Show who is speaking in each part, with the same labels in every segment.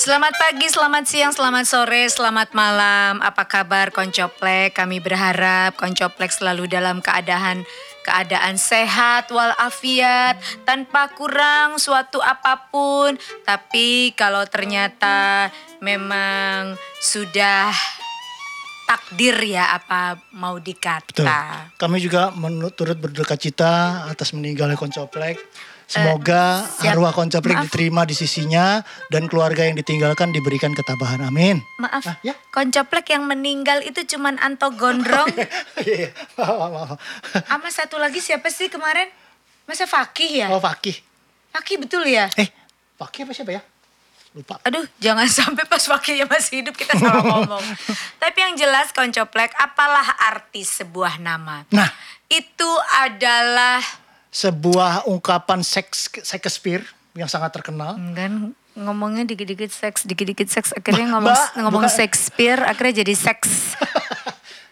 Speaker 1: Selamat pagi, selamat siang, selamat sore, selamat malam. Apa kabar Koncoplek? Kami berharap Koncoplek selalu dalam keadaan keadaan sehat walafiat tanpa kurang suatu apapun. Tapi kalau ternyata memang sudah takdir ya apa mau
Speaker 2: Betul.
Speaker 1: dikata.
Speaker 2: Kami juga menurut turut berduka cita atas meninggalnya Koncoplek. Semoga
Speaker 1: siap.
Speaker 2: arwah Koncoplek
Speaker 1: Maaf.
Speaker 2: diterima di sisinya dan keluarga yang ditinggalkan diberikan ketabahan. Amin.
Speaker 1: Maaf,
Speaker 2: Ah, ya.
Speaker 1: Koncoplek yang meninggal itu cuman Anto Gondrong
Speaker 2: Iya, iya. Maaf, maaf, maaf.
Speaker 1: Sama satu lagi siapa sih kemarin? Masa Fakih ya?
Speaker 2: Oh, Fakih.
Speaker 1: Fakih betul ya?
Speaker 2: Eh, Fakih apa siapa ya? Lupa.
Speaker 1: Aduh, jangan sampai pas Fakihnya masih hidup kita salah ngomong. Tapi yang jelas koncoplek apalah arti sebuah nama?
Speaker 2: Nah.
Speaker 1: Itu adalah
Speaker 2: Sebuah ungkapan seks Shakespeare yang sangat terkenal.
Speaker 1: kan ngomongnya dikit-dikit seks, dikit-dikit seks, akhirnya ngomong
Speaker 2: Mbak,
Speaker 1: ngomong
Speaker 2: bukan-
Speaker 1: Shakespeare, akhirnya jadi seks.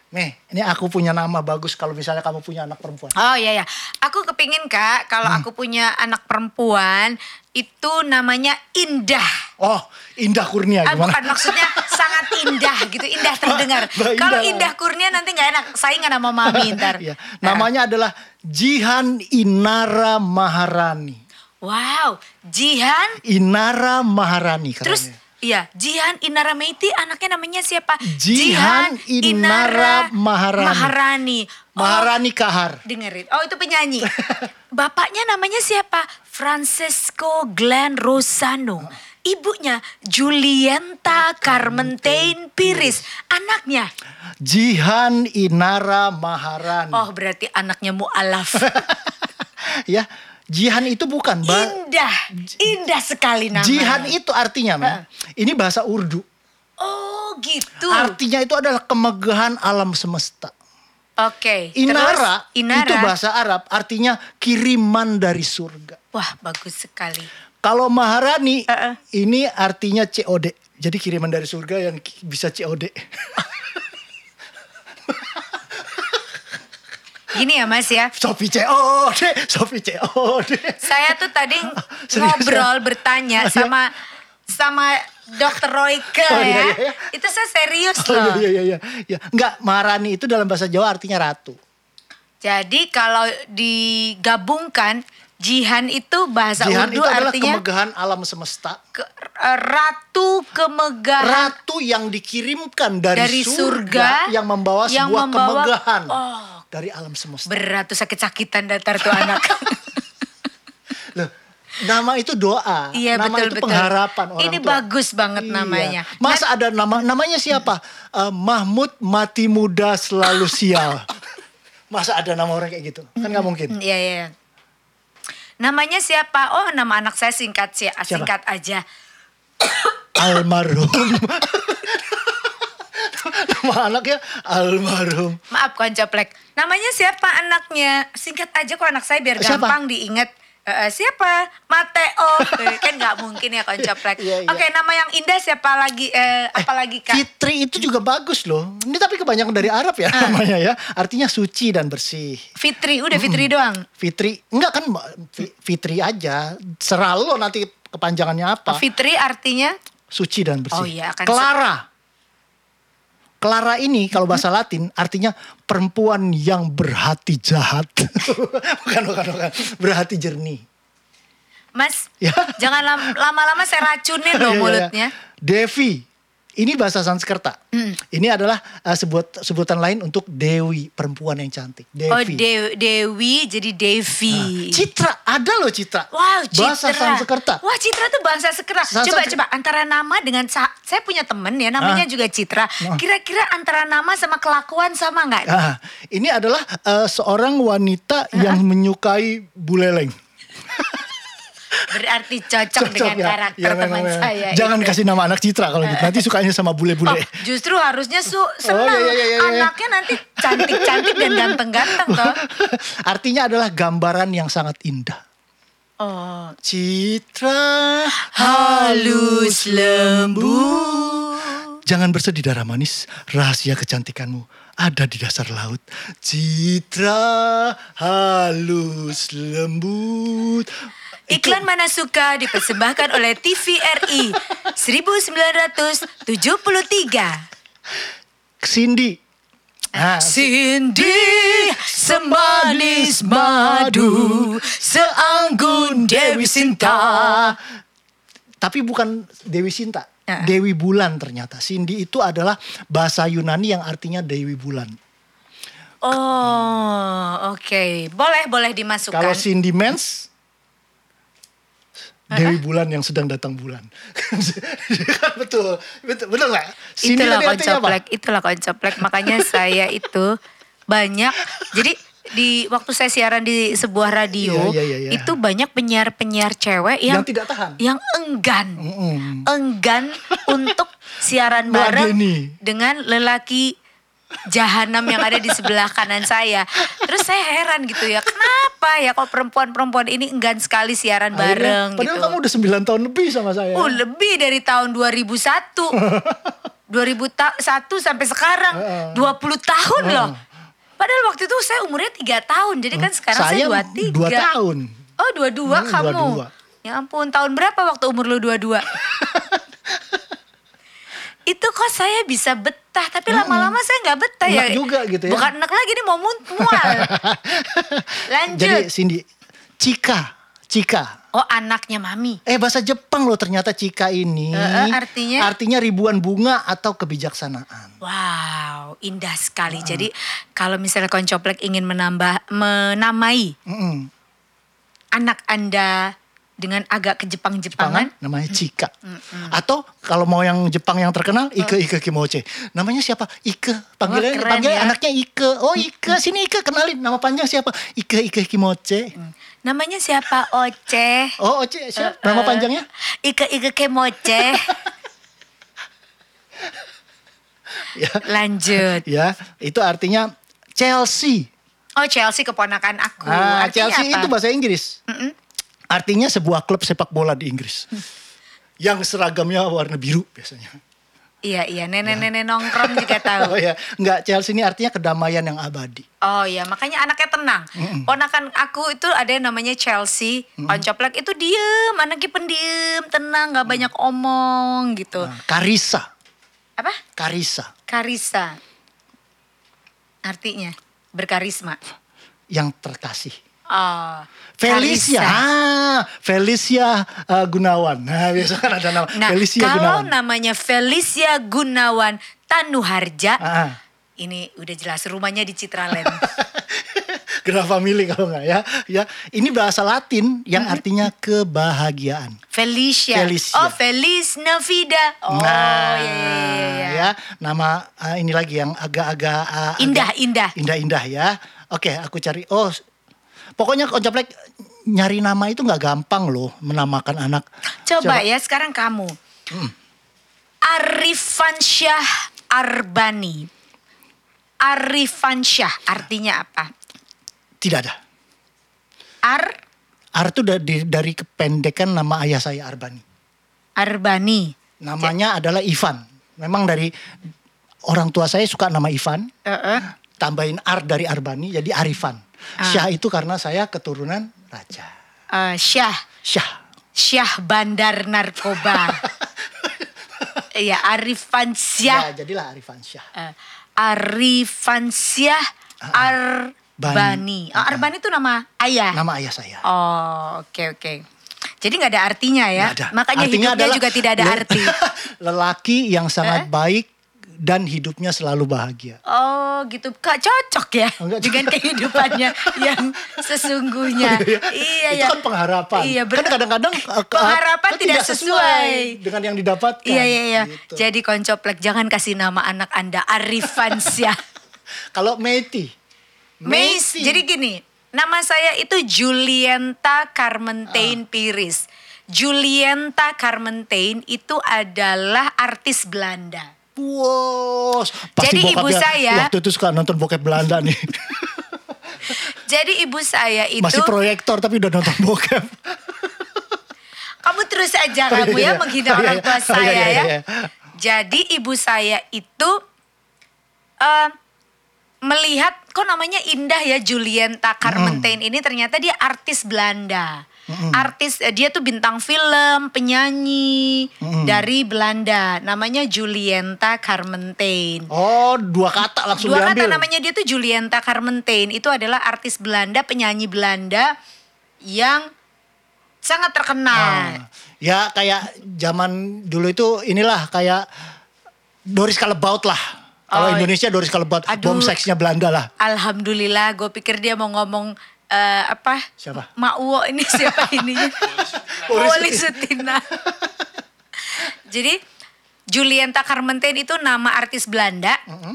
Speaker 2: Nih, ini aku punya nama bagus kalau misalnya kamu punya anak perempuan.
Speaker 1: Oh iya ya, aku kepingin kak kalau
Speaker 2: Hmm.
Speaker 1: aku punya anak perempuan itu namanya Indah.
Speaker 2: Oh, Indah Kurnia
Speaker 1: Ah,
Speaker 2: gimana?
Speaker 1: bukan maksudnya sangat indah gitu, indah terdengar.
Speaker 2: Mbak Indah.
Speaker 1: Kalau indah kurnia nanti nggak enak, saingan sama mami ntar.
Speaker 2: Iya.
Speaker 1: Nah,
Speaker 2: Namanya adalah Jihan Inara Maharani.
Speaker 1: wow, Jihan,
Speaker 2: Inara Maharani katanya.
Speaker 1: terus iya Jihan Inara Meiti anaknya namanya siapa?
Speaker 2: Jihan Inara Maharani.
Speaker 1: Maharani. Oh,
Speaker 2: Maharani Kahar.
Speaker 1: dengerin. Oh itu penyanyi. Bapaknya namanya siapa? Francesco Glenn Rosano. Ibunya Julienta Carmentain Piris. Anaknya
Speaker 2: Jihan Inara Maharani.
Speaker 1: Oh berarti anaknya mu'alaf.
Speaker 2: ya, Jihan itu bukan, Mbak.
Speaker 1: indah, indah sekali namanya.
Speaker 2: Jihan itu artinya, Mbak.
Speaker 1: Eh.
Speaker 2: Ini bahasa Urdu.
Speaker 1: Oh gitu.
Speaker 2: Artinya itu adalah kemegahan alam semesta.
Speaker 1: Oke. terus
Speaker 2: Inara,
Speaker 1: Inara.
Speaker 2: itu bahasa Arab, artinya kiriman dari surga.
Speaker 1: Wah bagus sekali.
Speaker 2: Kalau Maharani,
Speaker 1: Eh, eh.
Speaker 2: ini artinya COD. Jadi kiriman dari surga yang ki- bisa COD.
Speaker 1: Gini ya Mas ya.
Speaker 2: Sophie COD, Sophie COD.
Speaker 1: Saya tuh tadi
Speaker 2: Serius, ya? Iya.
Speaker 1: ngobrol bertanya sama sama Dokter Royke ya.
Speaker 2: Oh, iya, iya, iya.
Speaker 1: Itu saya serius
Speaker 2: Oh,
Speaker 1: loh.
Speaker 2: iya, iya, iya, iya. Enggak, Maharani itu dalam bahasa Jawa artinya ratu.
Speaker 1: Jadi kalau digabungkan Jihan itu bahasa
Speaker 2: Jihan
Speaker 1: Urdu
Speaker 2: itu adalah
Speaker 1: artinya
Speaker 2: kemegahan alam semesta.
Speaker 1: ke- eh, ratu kemegahan
Speaker 2: Ratu yang dikirimkan dari,
Speaker 1: Nah. Dari surga
Speaker 2: surga, yang membawa
Speaker 1: yang
Speaker 2: sebuah
Speaker 1: membawa-
Speaker 2: kemegahan
Speaker 1: Oh.
Speaker 2: dari alam semesta.
Speaker 1: berat tuh sakit-sakitan datar tuh anak.
Speaker 2: Loh, nama itu doa,
Speaker 1: Iya
Speaker 2: nama
Speaker 1: betul
Speaker 2: itu
Speaker 1: betul.
Speaker 2: pengharapan orang
Speaker 1: Ini
Speaker 2: tua.
Speaker 1: bagus banget
Speaker 2: Iya.
Speaker 1: namanya. Nah-
Speaker 2: Masa ada nama namanya siapa? Eh, Mahmud mati muda selalu sial. Masa ada nama orang kayak gitu? Kan nggak mungkin.
Speaker 1: Iya iya. iya. Namanya siapa? Oh nama anak saya singkat sih, ah,
Speaker 2: Siapa?
Speaker 1: singkat aja.
Speaker 2: almarhum. Nama anaknya almarhum.
Speaker 1: Maaf koncoplek. Namanya siapa anaknya? Singkat aja kok anak saya biar
Speaker 2: Oh, Siapa?
Speaker 1: gampang diingat. Eh, eh, siapa? Mateo. Eh, kan nggak mungkin ya koncoplek.
Speaker 2: Iya, iya.
Speaker 1: Oke nama yang indah siapa lagi? Eh, apa lagi kak?
Speaker 2: Fitri itu juga bagus loh. Ini tapi kebanyakan dari Arab ya
Speaker 1: Ah.
Speaker 2: namanya ya. Artinya suci dan bersih.
Speaker 1: Fitri. Udah Fitri
Speaker 2: Hmm.
Speaker 1: doang.
Speaker 2: Fitri, enggak kan Fi- Fitri aja. Serah lo nanti kepanjangannya apa.
Speaker 1: Oh, Fitri artinya
Speaker 2: Suci dan bersih.
Speaker 1: Oh iya, akan-
Speaker 2: Clara. Clara ini kalau bahasa
Speaker 1: Mm-hmm.
Speaker 2: Latin artinya perempuan yang berhati jahat. bukan, bukan, bukan. Berhati jernih.
Speaker 1: Mas.
Speaker 2: Ya.
Speaker 1: Jangan lam- lama-lama saya racunin
Speaker 2: Iya,
Speaker 1: loh
Speaker 2: iya,
Speaker 1: mulutnya. Hmm.
Speaker 2: iya. Devi. Ini bahasa Sanskerta. Ini adalah uh, sebut, sebutan lain untuk dewi, perempuan yang cantik. Devi.
Speaker 1: Oh
Speaker 2: Ah.
Speaker 1: Dewi, Dewi jadi Devi.
Speaker 2: Citra, ada loh Citra.
Speaker 1: Wow, Citra.
Speaker 2: Bahasa Sanskerta.
Speaker 1: Wah, Citra tuh bahasa Sanskerta.
Speaker 2: Sansekerta.
Speaker 1: Coba coba antara nama dengan sa- saya punya temen ya namanya
Speaker 2: Ah.
Speaker 1: juga Citra.
Speaker 2: Ah.
Speaker 1: Kira-kira antara nama sama kelakuan sama nggak? nih?
Speaker 2: Ah, ini adalah uh, seorang wanita yang menyukai buleleng.
Speaker 1: Berarti cocok, dengan
Speaker 2: ya.
Speaker 1: karakter
Speaker 2: Ya, memang,
Speaker 1: teman
Speaker 2: memang.
Speaker 1: saya. iya.
Speaker 2: Jangan
Speaker 1: itu.
Speaker 2: kasih nama anak Citra kalau gitu. Nanti sukanya sama
Speaker 1: Oh,
Speaker 2: bule-bule.
Speaker 1: justru harusnya su senang
Speaker 2: iya, iya, iya, iya.
Speaker 1: anaknya nanti cantik-cantik dan ganteng-ganteng toh.
Speaker 2: Artinya adalah gambaran yang sangat indah.
Speaker 1: Oh,
Speaker 2: Citra
Speaker 1: halus
Speaker 2: lembut. Jangan bersedih darah manis, rahasia kecantikanmu ada di dasar laut. Citra halus lembut.
Speaker 1: Iklan Mana Suka dipersembahkan oleh TVRI 1973.
Speaker 2: Cindy. Nah,
Speaker 1: Cindy semanis madu seanggun Eh, Dewi Sinta.
Speaker 2: tapi bukan Dewi Sinta.
Speaker 1: Heeh.
Speaker 2: Dewi Bulan ternyata. Cindy itu adalah bahasa Yunani yang artinya Dewi Bulan.
Speaker 1: Oh, oke. Boleh, boleh dimasukkan.
Speaker 2: Kalau Cindy Mens, Dewi Bulan yang sedang datang bulan. betul, betul, betul nggak? Cindy
Speaker 1: itulah
Speaker 2: tadi artinya apa?
Speaker 1: koncoplek, itulah koncoplek. Makanya saya itu banyak. Jadi di waktu saya siaran di sebuah radio,
Speaker 2: Iya, iya, iya, iya.
Speaker 1: itu banyak penyiar-penyiar cewek yang,
Speaker 2: Yang tidak tahan.
Speaker 1: yang enggan,
Speaker 2: Mm-mm.
Speaker 1: enggan untuk siaran bareng
Speaker 2: Meladeni.
Speaker 1: dengan lelaki jahanam yang ada di sebelah kanan saya. Terus saya heran gitu ya, kenapa ya kok perempuan-perempuan ini enggan sekali siaran bareng
Speaker 2: Akhirnya, Padahal
Speaker 1: gitu.
Speaker 2: kamu udah 9 tahun lebih sama saya.
Speaker 1: Oh lebih dari tahun 2001. 2001 sampai sekarang. 20
Speaker 2: Heeh.
Speaker 1: tahun loh. Padahal waktu itu saya umurnya 3 tahun. Jadi kan sekarang
Speaker 2: saya
Speaker 1: saya, 23.
Speaker 2: 2 tahun.
Speaker 1: Oh 22
Speaker 2: Hmm,
Speaker 1: kamu.
Speaker 2: 22.
Speaker 1: Ya ampun tahun berapa waktu umur lu 22? itu kok saya bisa betah. Tapi lama-lama saya nggak betah ya.
Speaker 2: Hmm. Enak juga gitu ya.
Speaker 1: Bukan enak lagi nih mau munt- mual. Lanjut.
Speaker 2: Jadi Cindy, Cika, Cika.
Speaker 1: oh anaknya mami.
Speaker 2: Eh bahasa Jepang loh ternyata Cika ini.
Speaker 1: Eh, eh, artinya?
Speaker 2: Artinya ribuan bunga atau kebijaksanaan.
Speaker 1: Wow, indah sekali. Jadi kalau misalnya Koncoplek ingin menambah menamai
Speaker 2: Mm-mm.
Speaker 1: anak Anda dengan agak ke Jepang-Jepangan,
Speaker 2: Pangan namanya Cika.
Speaker 1: Mm,
Speaker 2: Atau kalau mau yang Jepang yang terkenal Ike Ike Kimoche. Namanya siapa? Ike. Panggilan
Speaker 1: keren
Speaker 2: panggil
Speaker 1: ya. mm.
Speaker 2: anaknya Ike. Oh Ike, sini Ike kenalin nama panjang siapa? Ike Ike Kimoche.
Speaker 1: Mm. namanya siapa? Oce.
Speaker 2: Oh Oce siapa?
Speaker 1: Eh,
Speaker 2: Nama panjangnya?
Speaker 1: Ike-ike kemoce.
Speaker 2: Ya.
Speaker 1: Lanjut.
Speaker 2: Ya, itu artinya Chelsea.
Speaker 1: Oh Chelsea keponakan aku.
Speaker 2: Ah,
Speaker 1: Artinya
Speaker 2: Chelsea
Speaker 1: apa? Mm,
Speaker 2: itu bahasa Inggris. Artinya sebuah klub sepak bola di Inggris.
Speaker 1: Hmm.
Speaker 2: yang seragamnya warna biru biasanya.
Speaker 1: Iya iya nenek-nenek
Speaker 2: Ya.
Speaker 1: nongkrong juga tahu.
Speaker 2: Oh ya, enggak Chelsea ini artinya kedamaian yang abadi.
Speaker 1: Oh iya, makanya anaknya tenang. Ponakan aku itu ada yang namanya Chelsea, oncoplek itu diem, anaknya pendiem, tenang, nggak banyak omong gitu.
Speaker 2: Nah, Karisa, Ah.
Speaker 1: Apa?
Speaker 2: Karisa
Speaker 1: Karisa. Artinya berkarisma.
Speaker 2: yang terkasih.
Speaker 1: Oh, Karisa.
Speaker 2: Felicia, ah, Felicia eh, Gunawan. Nah, biasa kan ada nama
Speaker 1: Nah,
Speaker 2: Felicia
Speaker 1: kalau
Speaker 2: Gunawan.
Speaker 1: namanya Felicia Gunawan Tanuharja,
Speaker 2: Ah,
Speaker 1: ini udah jelas rumahnya di Citraland.
Speaker 2: Gerah family kalau nggak ya, ya. Ini bahasa Latin yang
Speaker 1: Mm-hmm.
Speaker 2: artinya kebahagiaan.
Speaker 1: Felicia.
Speaker 2: Felicia.
Speaker 1: Oh, Feliz Navida. Oh,
Speaker 2: nah,
Speaker 1: iya, iya, iya, iya.
Speaker 2: ya, nama eh, ini lagi yang agak-agak eh,
Speaker 1: Indah, iya.
Speaker 2: agak-
Speaker 1: indah.
Speaker 2: indah-indah ya. Oke, aku cari. Oh, s- pokoknya koncaplek nyari nama itu nggak gampang loh menamakan anak.
Speaker 1: Coba, ya sekarang kamu.
Speaker 2: Hmm.
Speaker 1: Arifansyah Arbani. Arifansyah artinya apa?
Speaker 2: Tidak ada.
Speaker 1: Ar
Speaker 2: Ar itu dari, dari kependekan nama ayah saya Arbani.
Speaker 1: Arbani.
Speaker 2: Namanya adalah Ivan. Memang dari orang tua saya suka nama Ivan,
Speaker 1: Heeh.
Speaker 2: tambahin Ar dari Arbani jadi Arifan.
Speaker 1: Ah.
Speaker 2: Syah itu karena saya keturunan raja.
Speaker 1: Eh, Syah
Speaker 2: Syah.
Speaker 1: Syah Bandar Narkoba. Iya, Arifansyah.
Speaker 2: Ya, jadilah Arifan Syah.
Speaker 1: Eh, Arifansyah
Speaker 2: Ah,
Speaker 1: Arbani. Oh, Arbani itu nama ayah.
Speaker 2: Nama ayah saya.
Speaker 1: Oh, oke oke. Jadi nggak ada artinya ya.
Speaker 2: Nggak ada.
Speaker 1: Makanya
Speaker 2: Artinya
Speaker 1: hidupnya
Speaker 2: adalah
Speaker 1: juga tidak ada
Speaker 2: le-
Speaker 1: arti. Eh?
Speaker 2: Lelaki yang sangat baik dan hidupnya selalu bahagia.
Speaker 1: Oh, gitu. Kak cocok ya
Speaker 2: Enggak
Speaker 1: dengan kehidupannya yang sesungguhnya. iya
Speaker 2: Oh, Itu
Speaker 1: ya.
Speaker 2: kan pengharapan.
Speaker 1: Iya, ber-
Speaker 2: kan kadang-kadang eh, ke-
Speaker 1: Pengharapan
Speaker 2: kan
Speaker 1: tidak sesuai.
Speaker 2: dengan yang didapatkan.
Speaker 1: Iya iya iya.
Speaker 2: Gitu.
Speaker 1: Jadi koncoplek jangan kasih nama anak Anda Arifansyah.
Speaker 2: Kalau Meiti.
Speaker 1: Mace. Jadi gini, nama saya itu Julienta
Speaker 2: Ah.
Speaker 1: Carmentain Piris. Julienta Carmentain itu adalah artis Belanda.
Speaker 2: Wow, pasti
Speaker 1: Jadi ibu
Speaker 2: bokapnya
Speaker 1: saya-
Speaker 2: waktu itu suka nonton bokep Belanda nih.
Speaker 1: Jadi ibu saya itu
Speaker 2: Masih proyektor tapi udah nonton bokep.
Speaker 1: Kamu terus aja kamu ya
Speaker 2: iya, iya.
Speaker 1: menghina
Speaker 2: Oh, iya,
Speaker 1: orang
Speaker 2: iya.
Speaker 1: tua
Speaker 2: Oh, iya,
Speaker 1: saya
Speaker 2: iya,
Speaker 1: ya.
Speaker 2: iya.
Speaker 1: Jadi ibu saya itu eh melihat kok namanya indah ya Julien Takar Menten ini ternyata dia artis Belanda. Artis eh, dia tuh bintang film, penyanyi dari Belanda. Namanya Julienta Carmentain.
Speaker 2: Oh, dua kata langsung
Speaker 1: Dua
Speaker 2: diambil.
Speaker 1: kata namanya dia tuh Julienta Carmentain. Itu adalah artis Belanda, penyanyi Belanda yang sangat terkenal.
Speaker 2: Ah, Ya kayak zaman dulu itu inilah kayak Doris Kalebaut lah.
Speaker 1: Oh,
Speaker 2: Kalau Indonesia Doris Kalebaut,
Speaker 1: aduh.
Speaker 2: bom seksnya Belanda lah.
Speaker 1: Alhamdulillah, gue pikir dia mau ngomong eh, apa?
Speaker 2: Siapa?
Speaker 1: Mauwo ini siapa ininya?
Speaker 2: Uri
Speaker 1: Wali
Speaker 2: Sutina.
Speaker 1: Sutina. Jadi Julienta Carmenten itu nama artis Belanda.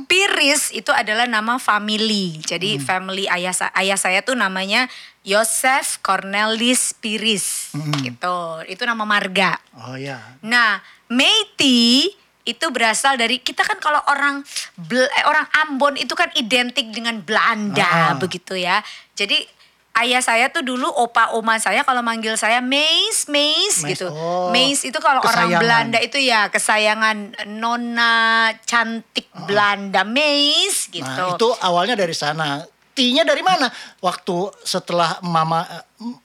Speaker 1: Piris itu adalah nama family. Jadi family ayah sa- ayah saya tuh namanya Yosef Cornelis Piris. Gitu. Itu nama marga.
Speaker 2: Oh ya.
Speaker 1: Nah, Meiti itu berasal dari kita kan kalau orang Bel- eh, orang Ambon itu kan identik dengan Belanda
Speaker 2: Ah.
Speaker 1: begitu ya. Jadi ayah saya tuh dulu opa oma saya kalau manggil saya Meis Meis
Speaker 2: Mais,
Speaker 1: gitu.
Speaker 2: oh,
Speaker 1: Meis itu kalau orang
Speaker 2: kesayangan.
Speaker 1: Belanda itu ya kesayangan nona cantik Belanda Meis gitu.
Speaker 2: Ah, Nah, itu awalnya dari sana. T-nya dari mana? Waktu setelah mama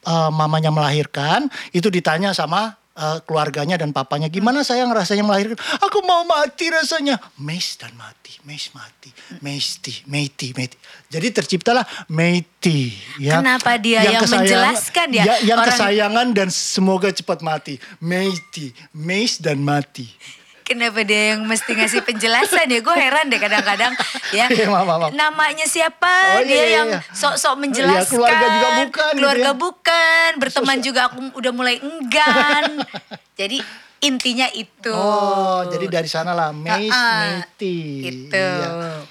Speaker 2: eh, mamanya melahirkan, itu ditanya sama eh, keluarganya dan papanya, gimana
Speaker 1: Hmm.
Speaker 2: saya ngerasanya melahirkan? Aku mau mati rasanya. Mes dan mati, mes mati, mesti, meti, meti. Jadi terciptalah meti. Ya.
Speaker 1: Kenapa dia yang
Speaker 2: kesayangan-
Speaker 1: menjelaskan ya?
Speaker 2: Ya, yang
Speaker 1: Orang-
Speaker 2: kesayangan dan semoga cepat mati. Meti, mes dan mati.
Speaker 1: Kenapa dia yang mesti ngasih penjelasan ya? Gue heran deh kadang-kadang ya.
Speaker 2: Iya, maaf, maaf.
Speaker 1: Namanya siapa?
Speaker 2: Oh, iya,
Speaker 1: dia
Speaker 2: iya,
Speaker 1: yang
Speaker 2: iya.
Speaker 1: sok-sok
Speaker 2: Iya,
Speaker 1: menjelaskan.
Speaker 2: keluarga juga bukan gitu
Speaker 1: Keluarga
Speaker 2: ya.
Speaker 1: bukan, berteman juga aku udah mulai enggan. Jadi intinya itu.
Speaker 2: Oh, jadi dari sana lah, mes,
Speaker 1: Ah, ah.
Speaker 2: meti.
Speaker 1: Gitu.
Speaker 2: Iya.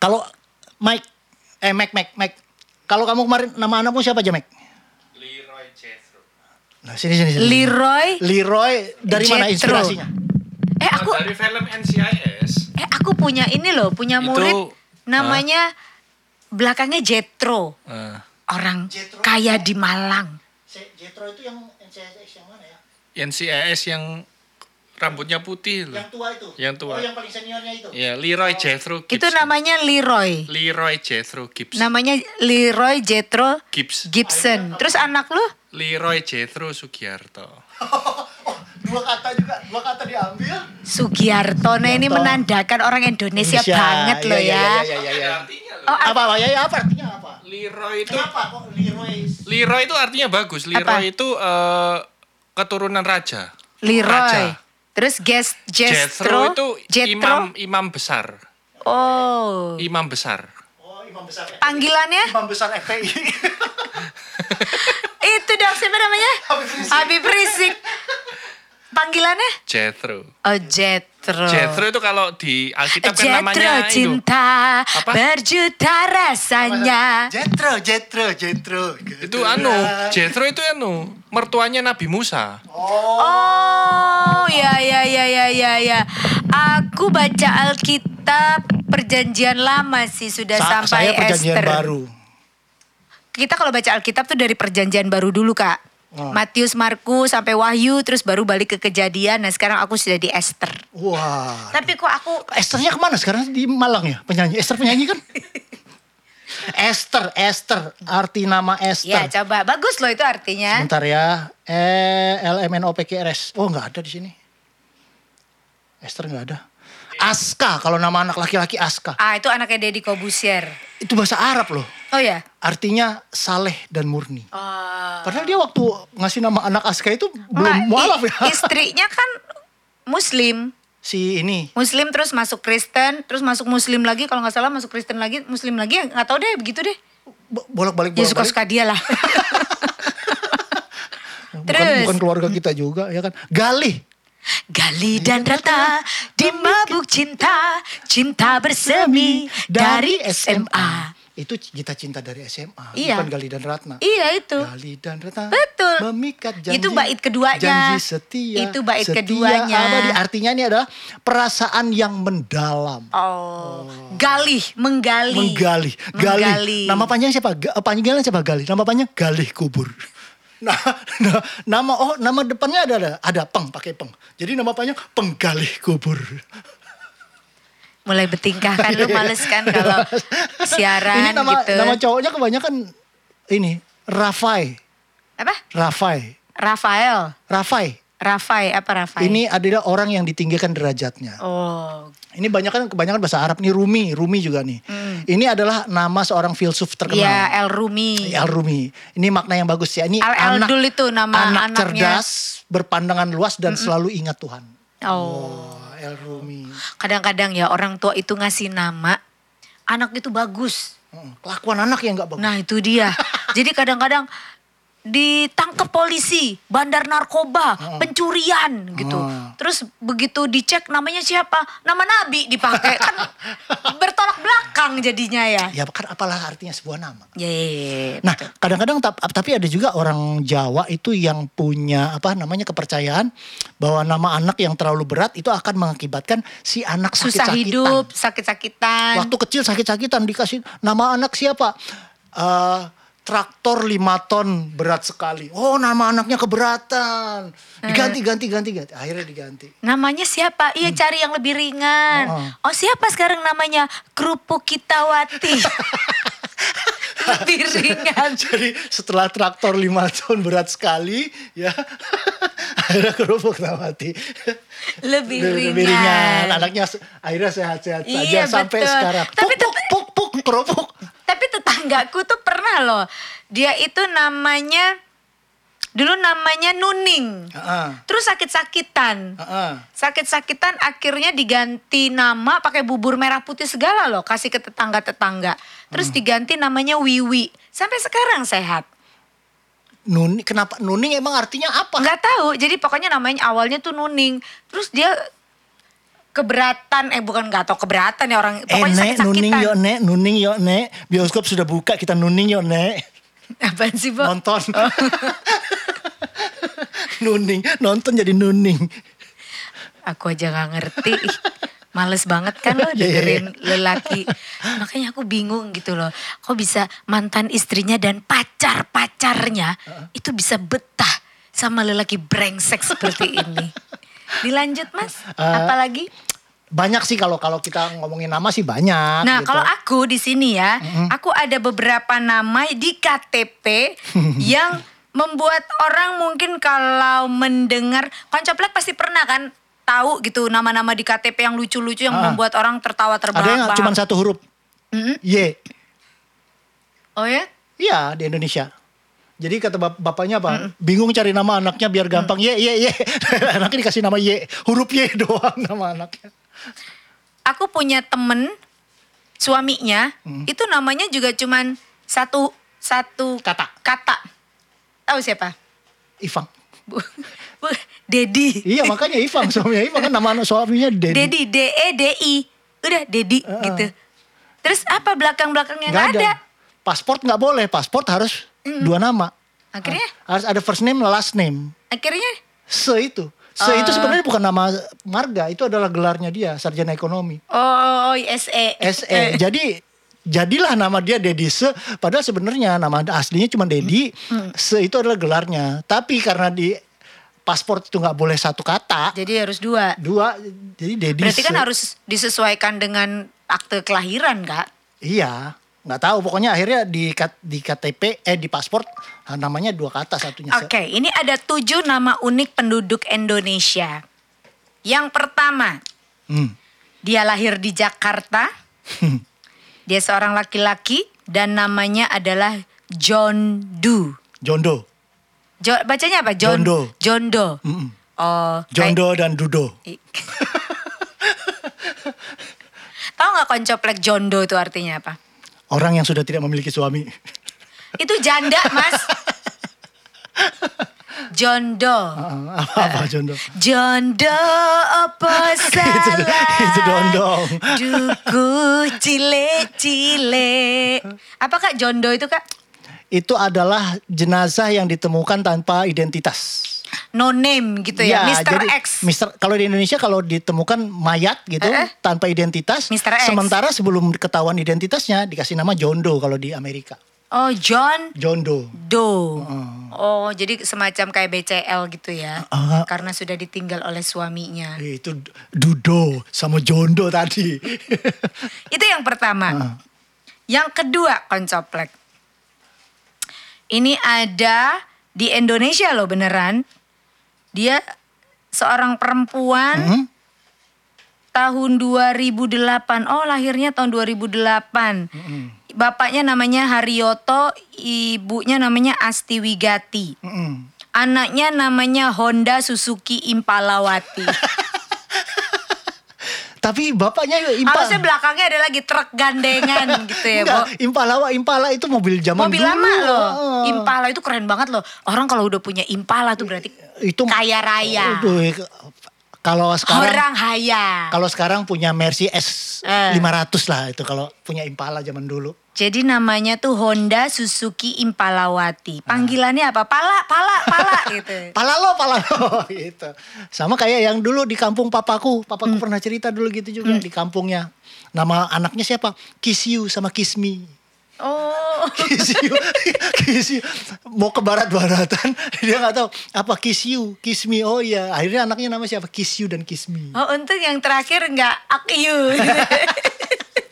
Speaker 2: Kalau Mike, eh Mike, Mike, Mike. Kalau kamu kemarin nama anakmu siapa aja Mike?
Speaker 3: Leroy Jethro.
Speaker 2: Nah sini sini sini.
Speaker 1: Leroy.
Speaker 2: Leroy dari mana
Speaker 1: Jethro.
Speaker 2: inspirasinya?
Speaker 1: Eh aku
Speaker 3: Dari film NCIS.
Speaker 1: eh aku punya ini loh, punya
Speaker 3: Itu-
Speaker 1: murid namanya belakangnya Jetro.
Speaker 3: Eh,
Speaker 1: Orang
Speaker 2: Jethro.
Speaker 1: kaya di Malang.
Speaker 2: Jetro itu yang NCSX yang mana ya?
Speaker 3: NCIS yang rambutnya putih loh.
Speaker 2: tua itu.
Speaker 3: Yang tua. Oh, yang
Speaker 2: paling seniornya itu.
Speaker 3: Ya, Leroy Jethro Gibbs.
Speaker 1: Itu namanya Leroy.
Speaker 3: Leroy Jethro Gibbs.
Speaker 1: Namanya Leroy Jetro
Speaker 3: Gibbs.
Speaker 1: Gibson. Terus anak lu?
Speaker 3: Leroy Jethro Sugiarto.
Speaker 2: Oh, Dua kata juga, dua kata diambil.
Speaker 1: Sugiarto. Nah ini
Speaker 2: Sugiarto.
Speaker 1: menandakan orang Indonesia,
Speaker 2: Indonesia.
Speaker 1: Eh, banget
Speaker 2: Iya,
Speaker 1: loh
Speaker 2: iya,
Speaker 1: ya.
Speaker 2: iya, iya, iya.
Speaker 3: artinya
Speaker 1: Oh,
Speaker 2: Apa apa ya, ya apa artinya apa?
Speaker 3: Leroy itu
Speaker 2: Kenapa kok Leroy?
Speaker 3: Leroy itu artinya bagus. Leroy
Speaker 1: Apa?
Speaker 3: itu eh, keturunan raja.
Speaker 1: Leroy.
Speaker 3: Raja.
Speaker 1: Terus guest
Speaker 3: Jethro
Speaker 1: Jethro.
Speaker 3: itu imam imam besar.
Speaker 1: Oh.
Speaker 3: Imam besar.
Speaker 2: Oh, Imam Besar.
Speaker 1: Panggilannya?
Speaker 2: Imam Besar FPI.
Speaker 1: itu dong siapa namanya?
Speaker 2: Habib Rizik.
Speaker 1: Habib Rizik. Panggilannya?
Speaker 3: Jethro.
Speaker 1: Oh Jethro.
Speaker 3: Jethro itu kalau di Alkitab kan
Speaker 1: Jethro
Speaker 3: namanya itu.
Speaker 1: cinta
Speaker 3: Apa?
Speaker 1: berjuta rasanya.
Speaker 2: Jetro, Jetro, Jetro.
Speaker 3: Itu anu, Jethro itu anu, mertuanya Nabi Musa.
Speaker 1: Oh, ya ya ya ya ya ya. Aku baca Alkitab Perjanjian Lama sih sudah
Speaker 2: Sa-
Speaker 1: sampai
Speaker 2: saya perjanjian
Speaker 1: Esther.
Speaker 2: baru.
Speaker 1: Kita kalau baca Alkitab tuh dari Perjanjian Baru dulu, Kak.
Speaker 2: Oh.
Speaker 1: Matius, Markus sampai Wahyu terus baru balik ke Kejadian. Nah, sekarang aku sudah di Esther.
Speaker 2: Wah.
Speaker 1: Tapi kok aku
Speaker 2: Esternya kemana sekarang di Malang ya penyanyi Ester penyanyi kan Esther Esther arti nama
Speaker 1: Ya,
Speaker 2: Esther
Speaker 1: coba. Bagus loh itu artinya.
Speaker 2: bentar ya E L M N O P Q R S oh nggak ada di sini Esther nggak ada Aska kalau nama anak laki-laki Aska
Speaker 1: Ah, itu anaknya Deddy Kobusier.
Speaker 2: itu bahasa Arab loh
Speaker 1: Oh ya.
Speaker 2: artinya saleh dan murni
Speaker 1: Oh.
Speaker 2: padahal dia waktu ngasih nama anak Aska itu belum
Speaker 1: Nggak,
Speaker 2: mualaf
Speaker 1: i-
Speaker 2: ya
Speaker 1: Istrinya kan Muslim.
Speaker 2: si ini
Speaker 1: Muslim terus masuk Kristen, terus masuk Muslim lagi kalau nggak salah masuk Kristen lagi, Muslim lagi ya, nggak tahu deh begitu deh.
Speaker 2: bo- bolak-balik
Speaker 1: Ya suka
Speaker 2: bolak-balik
Speaker 1: suka dia lah.
Speaker 2: bukan,
Speaker 1: Terus.
Speaker 2: bukan keluarga kita juga ya kan Galih
Speaker 1: Gali dan rata di mabuk cinta, cinta bersemi dari SMA.
Speaker 2: Itu kita cinta dari SMA,
Speaker 1: Iya.
Speaker 2: bukan Gali dan Ratna.
Speaker 1: Iya itu.
Speaker 2: Gali dan Ratna
Speaker 1: Betul.
Speaker 2: memikat janji.
Speaker 1: Itu bait keduanya.
Speaker 2: Janji setia.
Speaker 1: Itu bait
Speaker 2: setia
Speaker 1: keduanya.
Speaker 2: abadi. Artinya ini adalah perasaan yang mendalam.
Speaker 1: Oh, galih, menggali.
Speaker 2: Menggali. Gali.
Speaker 1: Menggali.
Speaker 2: Nama panjang siapa? Ga- Panggilan siapa Gali? Nama panjang Galih Kubur. Nah, nah, nama oh nama depannya ada ada, ada peng pakai peng. Jadi nama panjang penggalih kubur.
Speaker 1: mulai bertingkah kan lu males kan kalau siaran
Speaker 2: ini nama,
Speaker 1: gitu.
Speaker 2: nama cowoknya kebanyakan ini Rafai,
Speaker 1: apa?
Speaker 2: Rafai,
Speaker 1: Rafael.
Speaker 2: Rafai.
Speaker 1: Rafai apa Rafai?
Speaker 2: Ini adalah orang yang ditinggikan derajatnya.
Speaker 1: Oh,
Speaker 2: Ini banyak kan kebanyakan bahasa Arab nih Rumi, Rumi juga nih.
Speaker 1: Hmm.
Speaker 2: Ini adalah nama seorang filsuf terkenal. Iya.
Speaker 1: ya El Rumi.
Speaker 2: Al Rumi. Ini makna yang bagus ya. Ini
Speaker 1: Al
Speaker 2: anak,
Speaker 1: Eldul itu nama
Speaker 2: anak
Speaker 1: anaknya. Hmm.
Speaker 2: cerdas, berpandangan luas dan selalu ingat Tuhan.
Speaker 1: Oh,
Speaker 2: Oh, El Rumi.
Speaker 1: kadang-kadang ya orang tua itu ngasih nama anak itu bagus.
Speaker 2: Mm, Kelakuan anak yang nggak bagus.
Speaker 1: Nah itu dia. Jadi kadang-kadang ditangkap polisi, bandar
Speaker 2: Oh.
Speaker 1: narkoba, pencurian gitu.
Speaker 2: Hmm.
Speaker 1: Terus begitu dicek namanya siapa? Nama Nabi dipakai kan bertolak belakang jadinya ya.
Speaker 2: Ya kan apalah artinya sebuah nama.
Speaker 1: Ya, ya, ya.
Speaker 2: Nah, kadang-kadang tap- tapi ada juga orang Jawa itu yang punya apa namanya kepercayaan bahwa nama anak yang terlalu berat itu akan mengakibatkan si anak
Speaker 1: susah
Speaker 2: sakit-sakitan.
Speaker 1: hidup, kan? sakit-sakitan.
Speaker 2: Waktu kecil sakit-sakitan dikasih nama anak siapa? Eh, traktor 5 ton berat sekali. Oh, nama anaknya keberatan.
Speaker 1: Eh.
Speaker 2: Diganti ganti ganti ganti. Akhirnya diganti.
Speaker 1: Namanya siapa? Iya cari yang lebih ringan.
Speaker 2: Hmm.
Speaker 1: Oh
Speaker 2: Oh.
Speaker 1: siapa sekarang namanya? Kerupuk Kitawati. lebih ringan.
Speaker 2: Jadi setelah traktor 5 ton berat sekali, ya. akhirnya kerupuk nama mati.
Speaker 1: Lebih,
Speaker 2: Lebih
Speaker 1: ringan.
Speaker 2: ringan. Anaknya se- akhirnya sehat-sehat saja
Speaker 1: Iya,
Speaker 2: sampai
Speaker 1: betul.
Speaker 2: sekarang.
Speaker 1: Tapi
Speaker 2: puk, puk, puk, puk, kerupuk.
Speaker 1: Tapi tetanggaku tuh pernah loh. Dia itu namanya, dulu namanya Nuning.
Speaker 2: Heeh,
Speaker 1: Terus sakit-sakitan.
Speaker 2: heeh.
Speaker 1: Sakit-sakitan akhirnya diganti nama pakai bubur merah putih segala loh. Kasih ke tetangga-tetangga. Terus
Speaker 2: Hmm.
Speaker 1: diganti namanya Wiwi. Sampai sekarang sehat.
Speaker 2: Nuni, kenapa Nuning emang artinya apa?
Speaker 1: nggak tahu jadi pokoknya namanya awalnya tuh nuning terus dia keberatan eh bukan nggak tahu keberatan ya orang
Speaker 2: Eh,
Speaker 1: pokoknya
Speaker 2: Nek, nuning
Speaker 1: sakit-sakitan
Speaker 2: yuk, Nek, nuning yuk, Nek. Bioskop sudah buka, kita nuning yuk, Nek.
Speaker 1: apaan sih Bo? Oh.
Speaker 2: Nonton. nuning, nonton jadi nuning.
Speaker 1: aku aja nggak ngerti Ih, males banget kan lo
Speaker 2: Iya, iya,
Speaker 1: dengerin lelaki makanya aku bingung gitu loh kok bisa mantan istrinya dan pacar pacarnya itu bisa betah sama lelaki brengsek seperti ini dilanjut mas
Speaker 2: Eh,
Speaker 1: apalagi
Speaker 2: Banyak sih kalau kalau kita ngomongin nama sih banyak.
Speaker 1: Nah,
Speaker 2: gitu.
Speaker 1: kalau aku di sini ya, aku ada beberapa nama di KTP yang membuat orang mungkin kalau mendengar koncoplek pasti pernah kan tahu gitu nama-nama di KTP yang lucu-lucu yang
Speaker 2: Ah.
Speaker 1: membuat orang tertawa
Speaker 2: ada yang
Speaker 1: terbahak-bahak.
Speaker 2: cuma satu huruf.
Speaker 1: Mm-mm.
Speaker 2: Y.
Speaker 1: Oh ya?
Speaker 2: Iya di Indonesia. Jadi kata bap- bapaknya apa? Bingung cari nama anaknya biar gampang. Ye ye ye. anaknya dikasih nama Y. Huruf Y doang nama anaknya.
Speaker 1: Aku punya temen suaminya
Speaker 2: Mm.
Speaker 1: itu namanya juga cuman satu satu
Speaker 2: Kata.
Speaker 1: kata. Tahu siapa?
Speaker 2: Ivang.
Speaker 1: Bu, Bu Dedi.
Speaker 2: Iya makanya Ivang suaminya Ivang kan nama anak suaminya Dedi.
Speaker 1: Dedi D E D I. Udah Dedi gitu. Terus apa belakang-belakangnya
Speaker 2: Nggak
Speaker 1: nggak ada.
Speaker 2: Pasport nggak boleh. Pasport harus dua nama.
Speaker 1: Akhirnya
Speaker 2: Harus ada first name last name.
Speaker 1: akhirnya
Speaker 2: Se itu. Se itu sebenarnya bukan nama marga. Itu adalah gelarnya dia sarjana ekonomi.
Speaker 1: oh SE. Eh.
Speaker 2: SE. Jadi jadilah nama dia Dedi Se padahal sebenarnya nama aslinya cuma Dedi.
Speaker 1: Hmm.
Speaker 2: Se itu adalah gelarnya. Tapi karena di paspor itu nggak boleh satu kata,
Speaker 1: Jadi harus dua.
Speaker 2: dua jadi Dedi
Speaker 1: Berarti
Speaker 2: Se.
Speaker 1: kan harus disesuaikan dengan akte kelahiran kak.
Speaker 2: Iya. Nggak tahu pokoknya akhirnya di K- di KTP eh di paspor ah, namanya dua kata satunya Se.
Speaker 1: Oke, ini ada tujuh nama unik penduduk Indonesia. Yang pertama,
Speaker 2: Hmm.
Speaker 1: dia lahir di Jakarta. dia seorang laki-laki dan namanya adalah John Doe.
Speaker 2: Jondo.
Speaker 1: Jo- bacanya apa? John,
Speaker 2: Jondo.
Speaker 1: Jondo.
Speaker 2: Mm-mm.
Speaker 1: Oh, kayak-
Speaker 2: Jondo dan Dudo.
Speaker 1: Tahu nggak koncoplek Jondo itu artinya apa?
Speaker 2: Orang yang sudah tidak memiliki suami.
Speaker 1: Itu janda, Mas. Jondo.
Speaker 2: Ah, Apa-apa Jondo.
Speaker 1: Eh. Jondo apa salah?
Speaker 2: itu dondong.
Speaker 1: Duku cile-cile. Apa Kak Jondo itu Kak?
Speaker 2: Itu adalah jenazah yang ditemukan tanpa identitas.
Speaker 1: No name gitu ya, Mr.
Speaker 2: Iya, jadi
Speaker 1: X.
Speaker 2: Mr. Kalau di Indonesia kalau ditemukan mayat gitu
Speaker 1: Eh, eh.
Speaker 2: tanpa identitas,
Speaker 1: Mr. X.
Speaker 2: sementara sebelum ketahuan identitasnya dikasih nama Jondo kalau di Amerika.
Speaker 1: Oh, John
Speaker 2: Jondo.
Speaker 1: Do. Oh, Oh, jadi semacam kayak BCL gitu ya.
Speaker 2: Ah.
Speaker 1: Karena sudah ditinggal oleh suaminya.
Speaker 2: Eh, Itu Dudo sama Jondo tadi.
Speaker 1: Itu yang pertama.
Speaker 2: Ah.
Speaker 1: Yang kedua, koncoplek. Ini ada di Indonesia loh beneran. Dia seorang perempuan
Speaker 2: Hmm?
Speaker 1: tahun 2008. Oh, lahirnya tahun 2008.
Speaker 2: Hmm.
Speaker 1: Bapaknya namanya Haryoto, ibunya namanya Asti Wigati.
Speaker 2: Mm-mm.
Speaker 1: Anaknya namanya Honda Suzuki Impalawati.
Speaker 2: Tapi bapaknya impala.
Speaker 1: Harusnya belakangnya ada lagi truk gandengan gitu ya, Bo.
Speaker 2: Enggak, impala, Wak. impala itu mobil zaman
Speaker 1: Mobil
Speaker 2: dulu.
Speaker 1: lama loh.
Speaker 2: Heeh.
Speaker 1: Impala itu keren banget loh. Orang kalau udah punya Impala tuh berarti
Speaker 2: Itu
Speaker 1: kaya raya.
Speaker 2: Aduh, eh, kalau sekarang
Speaker 1: Orang haya.
Speaker 2: kalau sekarang punya Mercy S
Speaker 1: Eh.
Speaker 2: 500 lah itu kalau punya impala zaman dulu.
Speaker 1: Jadi namanya tuh Honda Suzuki Impalawati.
Speaker 2: Nah.
Speaker 1: Panggilannya apa? Pala, pala, pala gitu.
Speaker 2: Pala lo, pala lo gitu. Sama kayak yang dulu di kampung papaku.
Speaker 1: Hmm.
Speaker 2: Papaku pernah cerita dulu gitu juga di kampungnya. Nama anaknya siapa? Kisyu sama Kismi.
Speaker 1: Oh.
Speaker 2: Kisyu, Kisyu. Mau ke barat-baratan, dia nggak tahu apa Kisyu, Kismi. Oh iya, akhirnya anaknya nama siapa? Kisyu dan Kismi.
Speaker 1: Oh untung yang terakhir nggak akiu.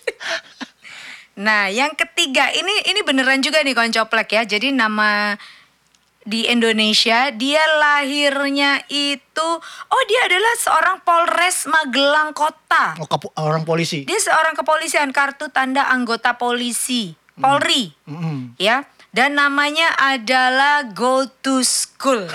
Speaker 1: nah yang ketiga ini ini beneran juga nih koncoplek ya. Jadi nama di Indonesia dia lahirnya itu oh dia adalah seorang Polres Magelang Kota.
Speaker 2: Oh, kapu- orang polisi.
Speaker 1: Dia seorang kepolisian kartu tanda anggota polisi Polri
Speaker 2: Mm-mm.
Speaker 1: ya dan namanya adalah Go to School.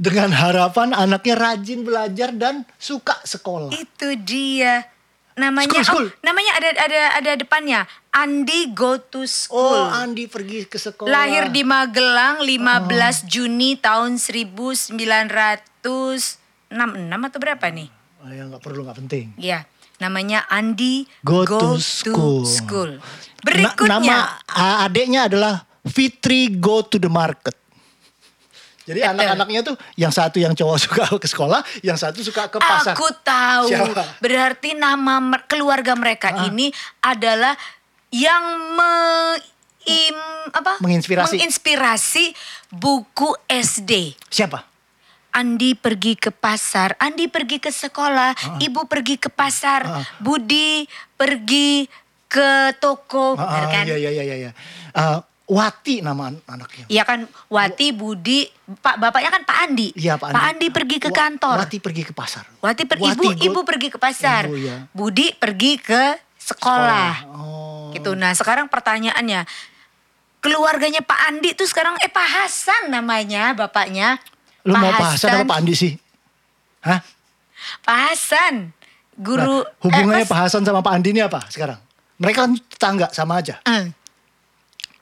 Speaker 2: Dengan harapan anaknya rajin belajar dan suka sekolah.
Speaker 1: Itu dia. Namanya
Speaker 2: School, school.
Speaker 1: oh, namanya ada ada ada depannya. Andi go to
Speaker 2: Oh,
Speaker 1: school.
Speaker 2: Andi pergi ke sekolah.
Speaker 1: Lahir di
Speaker 2: Oh.
Speaker 1: Magelang 15 Juni tahun 1966 atau berapa nih?
Speaker 2: Oh, ya nggak perlu, nggak penting.
Speaker 1: Ya, namanya Andi
Speaker 2: Go to school.
Speaker 1: school.
Speaker 2: Na-
Speaker 1: Berikutnya
Speaker 2: nama a- adeknya adalah Fitri Go to the Market. Jadi anak-anaknya tuh yang satu yang cowok suka ke sekolah, yang satu suka ke pasar.
Speaker 1: Aku tahu.
Speaker 2: Siapa? Ah.
Speaker 1: Berarti nama mer- keluarga mereka ini adalah yang me- im- apa?
Speaker 2: Menginspirasi.
Speaker 1: Menginspirasi buku SD.
Speaker 2: Siapa?
Speaker 1: Andi pergi ke pasar, Andi pergi ke sekolah,
Speaker 2: Ah.
Speaker 1: ibu pergi ke pasar, Budi pergi ke toko, bener
Speaker 2: Ah,
Speaker 1: kan?
Speaker 2: Iya, iya, iya, iya. iya. Eh, Wati nama an- anaknya.
Speaker 1: Iya kan Wati, Budi, Pak bapaknya kan Pak Andi.
Speaker 2: Iya, Pak Andi.
Speaker 1: pergi ke
Speaker 2: Wa-
Speaker 1: kantor.
Speaker 2: Wati pergi ke pasar.
Speaker 1: Wati per-
Speaker 2: Wati
Speaker 1: ibu
Speaker 2: go-
Speaker 1: ibu pergi ke pasar.
Speaker 2: Ibu, ya.
Speaker 1: Budi pergi ke sekolah.
Speaker 2: Oh.
Speaker 1: Gitu. Nah, sekarang pertanyaannya keluarganya Pak Andi tuh sekarang eh Pak Hasan namanya bapaknya.
Speaker 2: Lu mau pahasan apa Pak Andi sih? Hah?
Speaker 1: Pak Hasan. Guru
Speaker 2: Nah,
Speaker 1: eh,
Speaker 2: hubungannya Pak Hasan sama Pak Andi ini apa sekarang? Mereka kan tetangga sama aja.
Speaker 1: eh.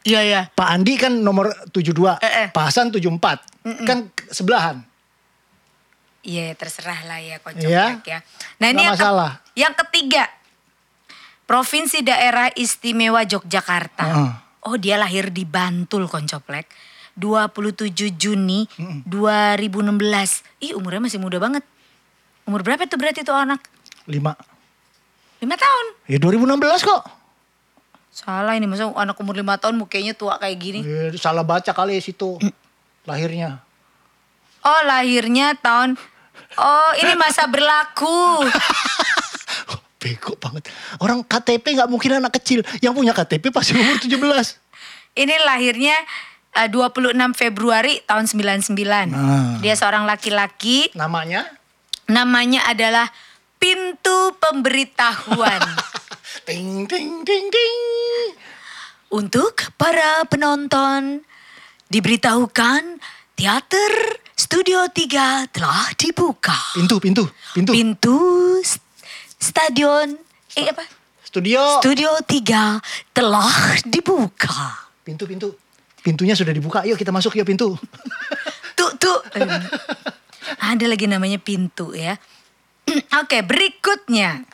Speaker 1: Iya ya.
Speaker 2: Pak Andi kan nomor 72,
Speaker 1: Eh, eh.
Speaker 2: Pak Hasan 74. Kan ke- sebelahan.
Speaker 1: Iya terserah lah ya kocok
Speaker 2: Iya.
Speaker 1: ya. Nah ini yang,
Speaker 2: Nggak
Speaker 1: ke-
Speaker 2: masalah.
Speaker 1: yang ketiga. Provinsi Daerah Istimewa Yogyakarta.
Speaker 2: Heeh.
Speaker 1: Oh dia lahir di Bantul koncoplek. 27 Juni 2016. Ih umurnya masih muda banget. Umur berapa tuh berarti tuh anak?
Speaker 2: 5.
Speaker 1: 5 tahun.
Speaker 2: Ya 2016 kok.
Speaker 1: Salah ini masa anak umur 5 tahun mukanya tua kayak gini.
Speaker 2: Eh, salah baca kali situ.
Speaker 1: Mm.
Speaker 2: Lahirnya.
Speaker 1: Oh lahirnya tahun Oh ini masa berlaku.
Speaker 2: Oh, Bego banget. Orang KTP nggak mungkin anak kecil. Yang punya KTP pasti umur 17.
Speaker 1: Ini lahirnya eh, 26 Februari tahun 99.
Speaker 2: Nah.
Speaker 1: Dia seorang laki-laki,
Speaker 2: Namanya?
Speaker 1: namanya adalah Pintu Pemberitahuan.
Speaker 2: ting ting ting ting.
Speaker 1: Untuk para penonton, diberitahukan teater Studio 3 telah dibuka.
Speaker 2: Pintu, pintu, pintu.
Speaker 1: Pintu s- stadion eh apa?
Speaker 2: Studio.
Speaker 1: Studio 3 telah dibuka.
Speaker 2: pintu, pintu. Pintunya sudah dibuka. Yuk kita masuk yuk pintu.
Speaker 1: Tuh, tuh. Ada lagi namanya pintu ya. Oke, berikutnya.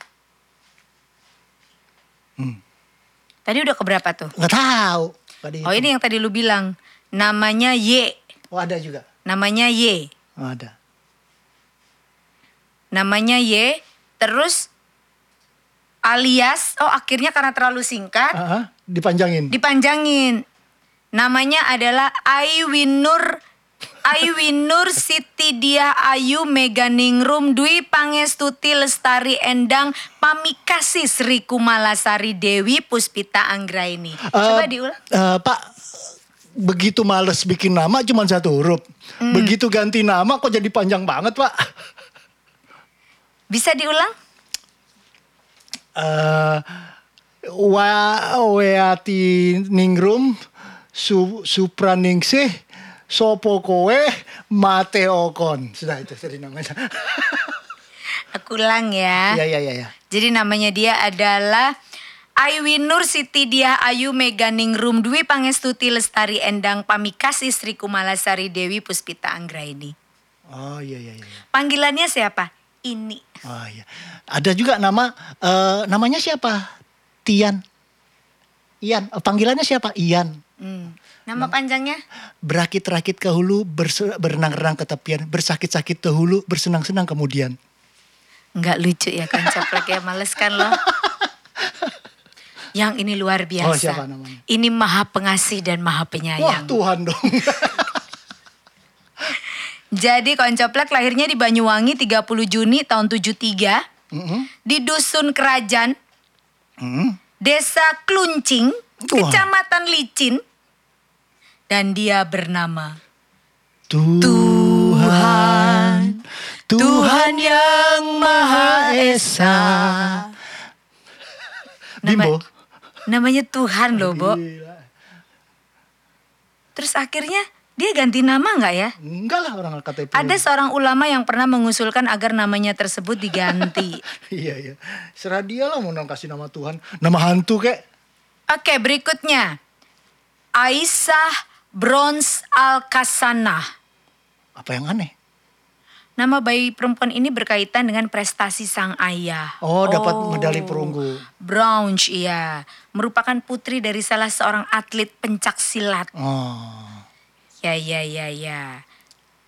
Speaker 1: Tadi udah keberapa tuh?
Speaker 2: Nggak tahu. Tadi.
Speaker 1: Oh ini yang tadi lu bilang. Namanya Y.
Speaker 2: Oh ada juga.
Speaker 1: Namanya Y.
Speaker 2: Oh, ada.
Speaker 1: Namanya Y. Terus alias. Oh akhirnya karena terlalu singkat.
Speaker 2: Ah, ah, dipanjangin.
Speaker 1: Dipanjangin. Namanya adalah Aiwinur Aiwinur Siti Diah Ayu Meganingrum Dwi Pangestuti Lestari Endang Pamikasi Sri Kumalasari Dewi Puspita Anggraini. Coba
Speaker 2: Eh,
Speaker 1: diulang.
Speaker 2: eh, Pak, begitu males bikin nama cuma satu huruf. Begitu ganti nama kok jadi panjang banget, Pak.
Speaker 1: Bisa diulang?
Speaker 2: Eh wa Weati Ningrum su, Supraningsih Sopo Kowe Mateokon. Sudah itu jadi namanya.
Speaker 1: Aku ulang ya.
Speaker 2: Iya, iya, iya, iya.
Speaker 1: Jadi namanya dia adalah Aiwinur Siti Diah Ayu Meganingrum Dwi Pangestuti Lestari Endang Pamikasi Sri Kumalasari Dewi Puspita Anggraini.
Speaker 2: Oh, iya, iya, iya.
Speaker 1: Panggilannya siapa? Ini.
Speaker 2: Oh, iya. Ada juga nama eh, namanya siapa? Tian. Ian, Eh, panggilannya siapa? Ian.
Speaker 1: Hmm. Nama panjangnya?
Speaker 2: Berakit-rakit ke hulu, berse- berenang-renang ke tepian, bersakit-sakit ke hulu, bersenang-senang kemudian.
Speaker 1: Nggak lucu ya kan coplak ya, males kan lo. Yang ini luar biasa.
Speaker 2: Oh, siapa namanya?
Speaker 1: Ini maha pengasih dan maha
Speaker 2: Wah,
Speaker 1: penyayang.
Speaker 2: Tuhan dong.
Speaker 1: Jadi Koncoplak lahirnya di Banyuwangi 30 Juni tahun 73.
Speaker 2: Mm-mm.
Speaker 1: Di Dusun Kerajaan,
Speaker 2: Mm.
Speaker 1: Desa Kluncing,
Speaker 2: Wah.
Speaker 1: Kecamatan Licin. Dan dia bernama
Speaker 2: Tuhan, Tuhan yang Maha Esa. Bimbo,
Speaker 1: Namanya Tuhan loh, Bo. Terus akhirnya dia ganti nama nggak ya?
Speaker 2: enggak lah orang KTP.
Speaker 1: Ada seorang ulama yang pernah mengusulkan agar namanya tersebut diganti.
Speaker 2: Iya iya, serah dia lah mau nang kasih nama Tuhan, nama hantu kek.
Speaker 1: Oke, berikutnya. Aisyah Bronze Alkasanah.
Speaker 2: Apa yang aneh?
Speaker 1: Nama bayi perempuan ini berkaitan dengan prestasi sang ayah.
Speaker 2: Oh, dapat medali perunggu.
Speaker 1: Bronze, iya. Merupakan putri dari salah seorang atlet pencak silat.
Speaker 2: Oh,
Speaker 1: Ya, ya, ya, ya.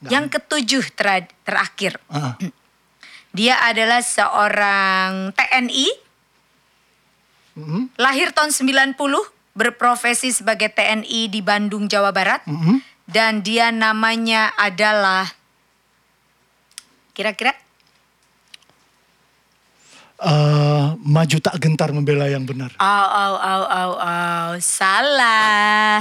Speaker 1: Yang ketujuh tera- terakhir.
Speaker 2: ah,
Speaker 1: Dia adalah seorang TNI.
Speaker 2: Mhm.
Speaker 1: Lahir tahun 90, berprofesi sebagai TNI di Bandung, Jawa Barat.
Speaker 2: Mhm.
Speaker 1: Dan dia namanya adalah kira-kira
Speaker 2: Eh, maju tak gentar membela yang benar.
Speaker 1: Au au au au au salah.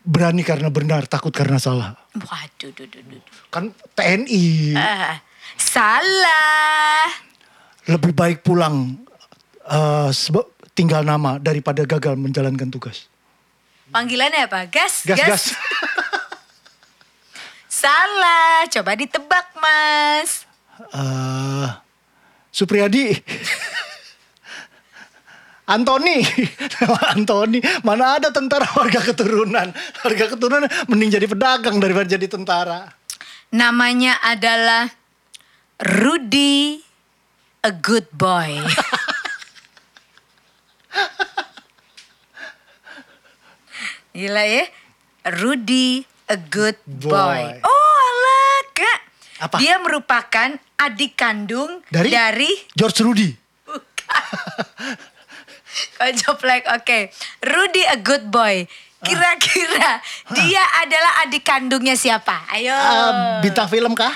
Speaker 2: Berani karena benar, takut karena salah.
Speaker 1: Waduh, duh, duh, duh, duh.
Speaker 2: Kan TNI
Speaker 1: Ah, salah.
Speaker 2: lebih baik pulang eh, sebe- tinggal nama daripada gagal menjalankan tugas.
Speaker 1: Panggilannya apa? Gas,
Speaker 2: Gas gas.
Speaker 1: Salah. Coba ditebak, Mas.
Speaker 2: Eh, Supriyadi. Antoni, Antoni, mana ada tentara warga keturunan? Warga keturunan mending jadi pedagang daripada jadi tentara.
Speaker 1: Namanya adalah Rudy a good boy. Gila ya. Rudy a good boy.
Speaker 2: Boy.
Speaker 1: Oh, alah, Kak.
Speaker 2: Apa?
Speaker 1: Dia merupakan adik kandung
Speaker 2: Dari, George Rudy.
Speaker 1: Kojoplek, oke. Rudy a good boy.
Speaker 2: Ah.
Speaker 1: Kira-kira dia adalah adik kandungnya siapa? Ayo.
Speaker 2: Eh, bintang film kah?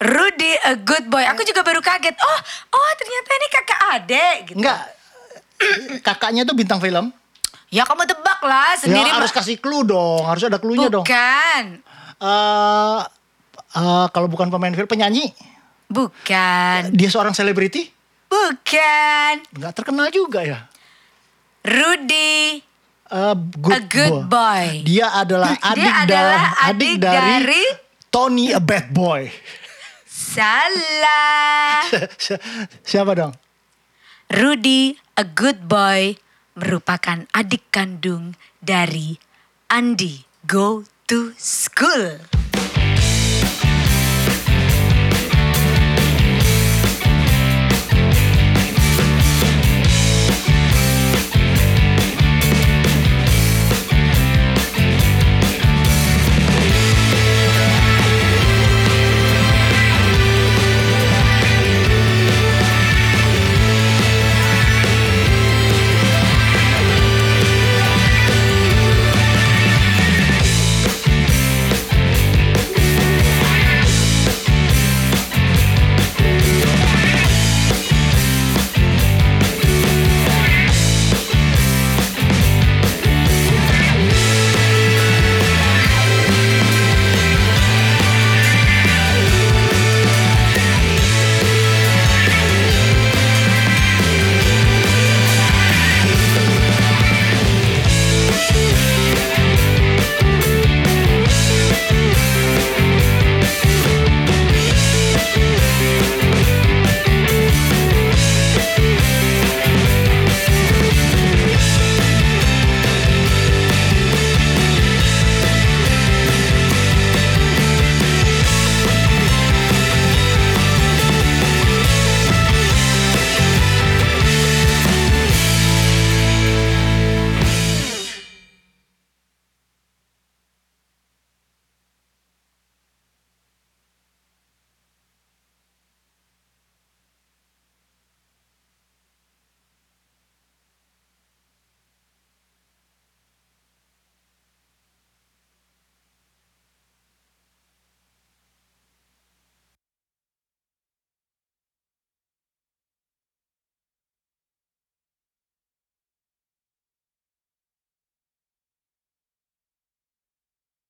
Speaker 1: Rudy a good boy. Aku juga baru kaget. Oh, oh ternyata ini kakak adek gitu.
Speaker 2: Enggak. Kakaknya tuh bintang film.
Speaker 1: Ya kamu tebak lah sendiri.
Speaker 2: ya, harus
Speaker 1: Ma-
Speaker 2: kasih clue dong, harus ada clue-nya dong.
Speaker 1: Bukan.
Speaker 2: Eh, eh, kalau bukan pemain film, penyanyi.
Speaker 1: Bukan.
Speaker 2: Dia seorang selebriti?
Speaker 1: Bukan.
Speaker 2: Enggak terkenal juga ya.
Speaker 1: Rudy
Speaker 2: Eh, good
Speaker 1: a good
Speaker 2: boy.
Speaker 1: boy.
Speaker 2: Dia adalah
Speaker 1: Dia
Speaker 2: adik
Speaker 1: adalah
Speaker 2: dalam- adik
Speaker 1: adik
Speaker 2: dari,
Speaker 1: dari-
Speaker 2: Tony a bad boy.
Speaker 1: Salah.
Speaker 2: Si- Siapa dong?
Speaker 1: Rudy, a good boy, merupakan adik kandung dari Andi Go to School.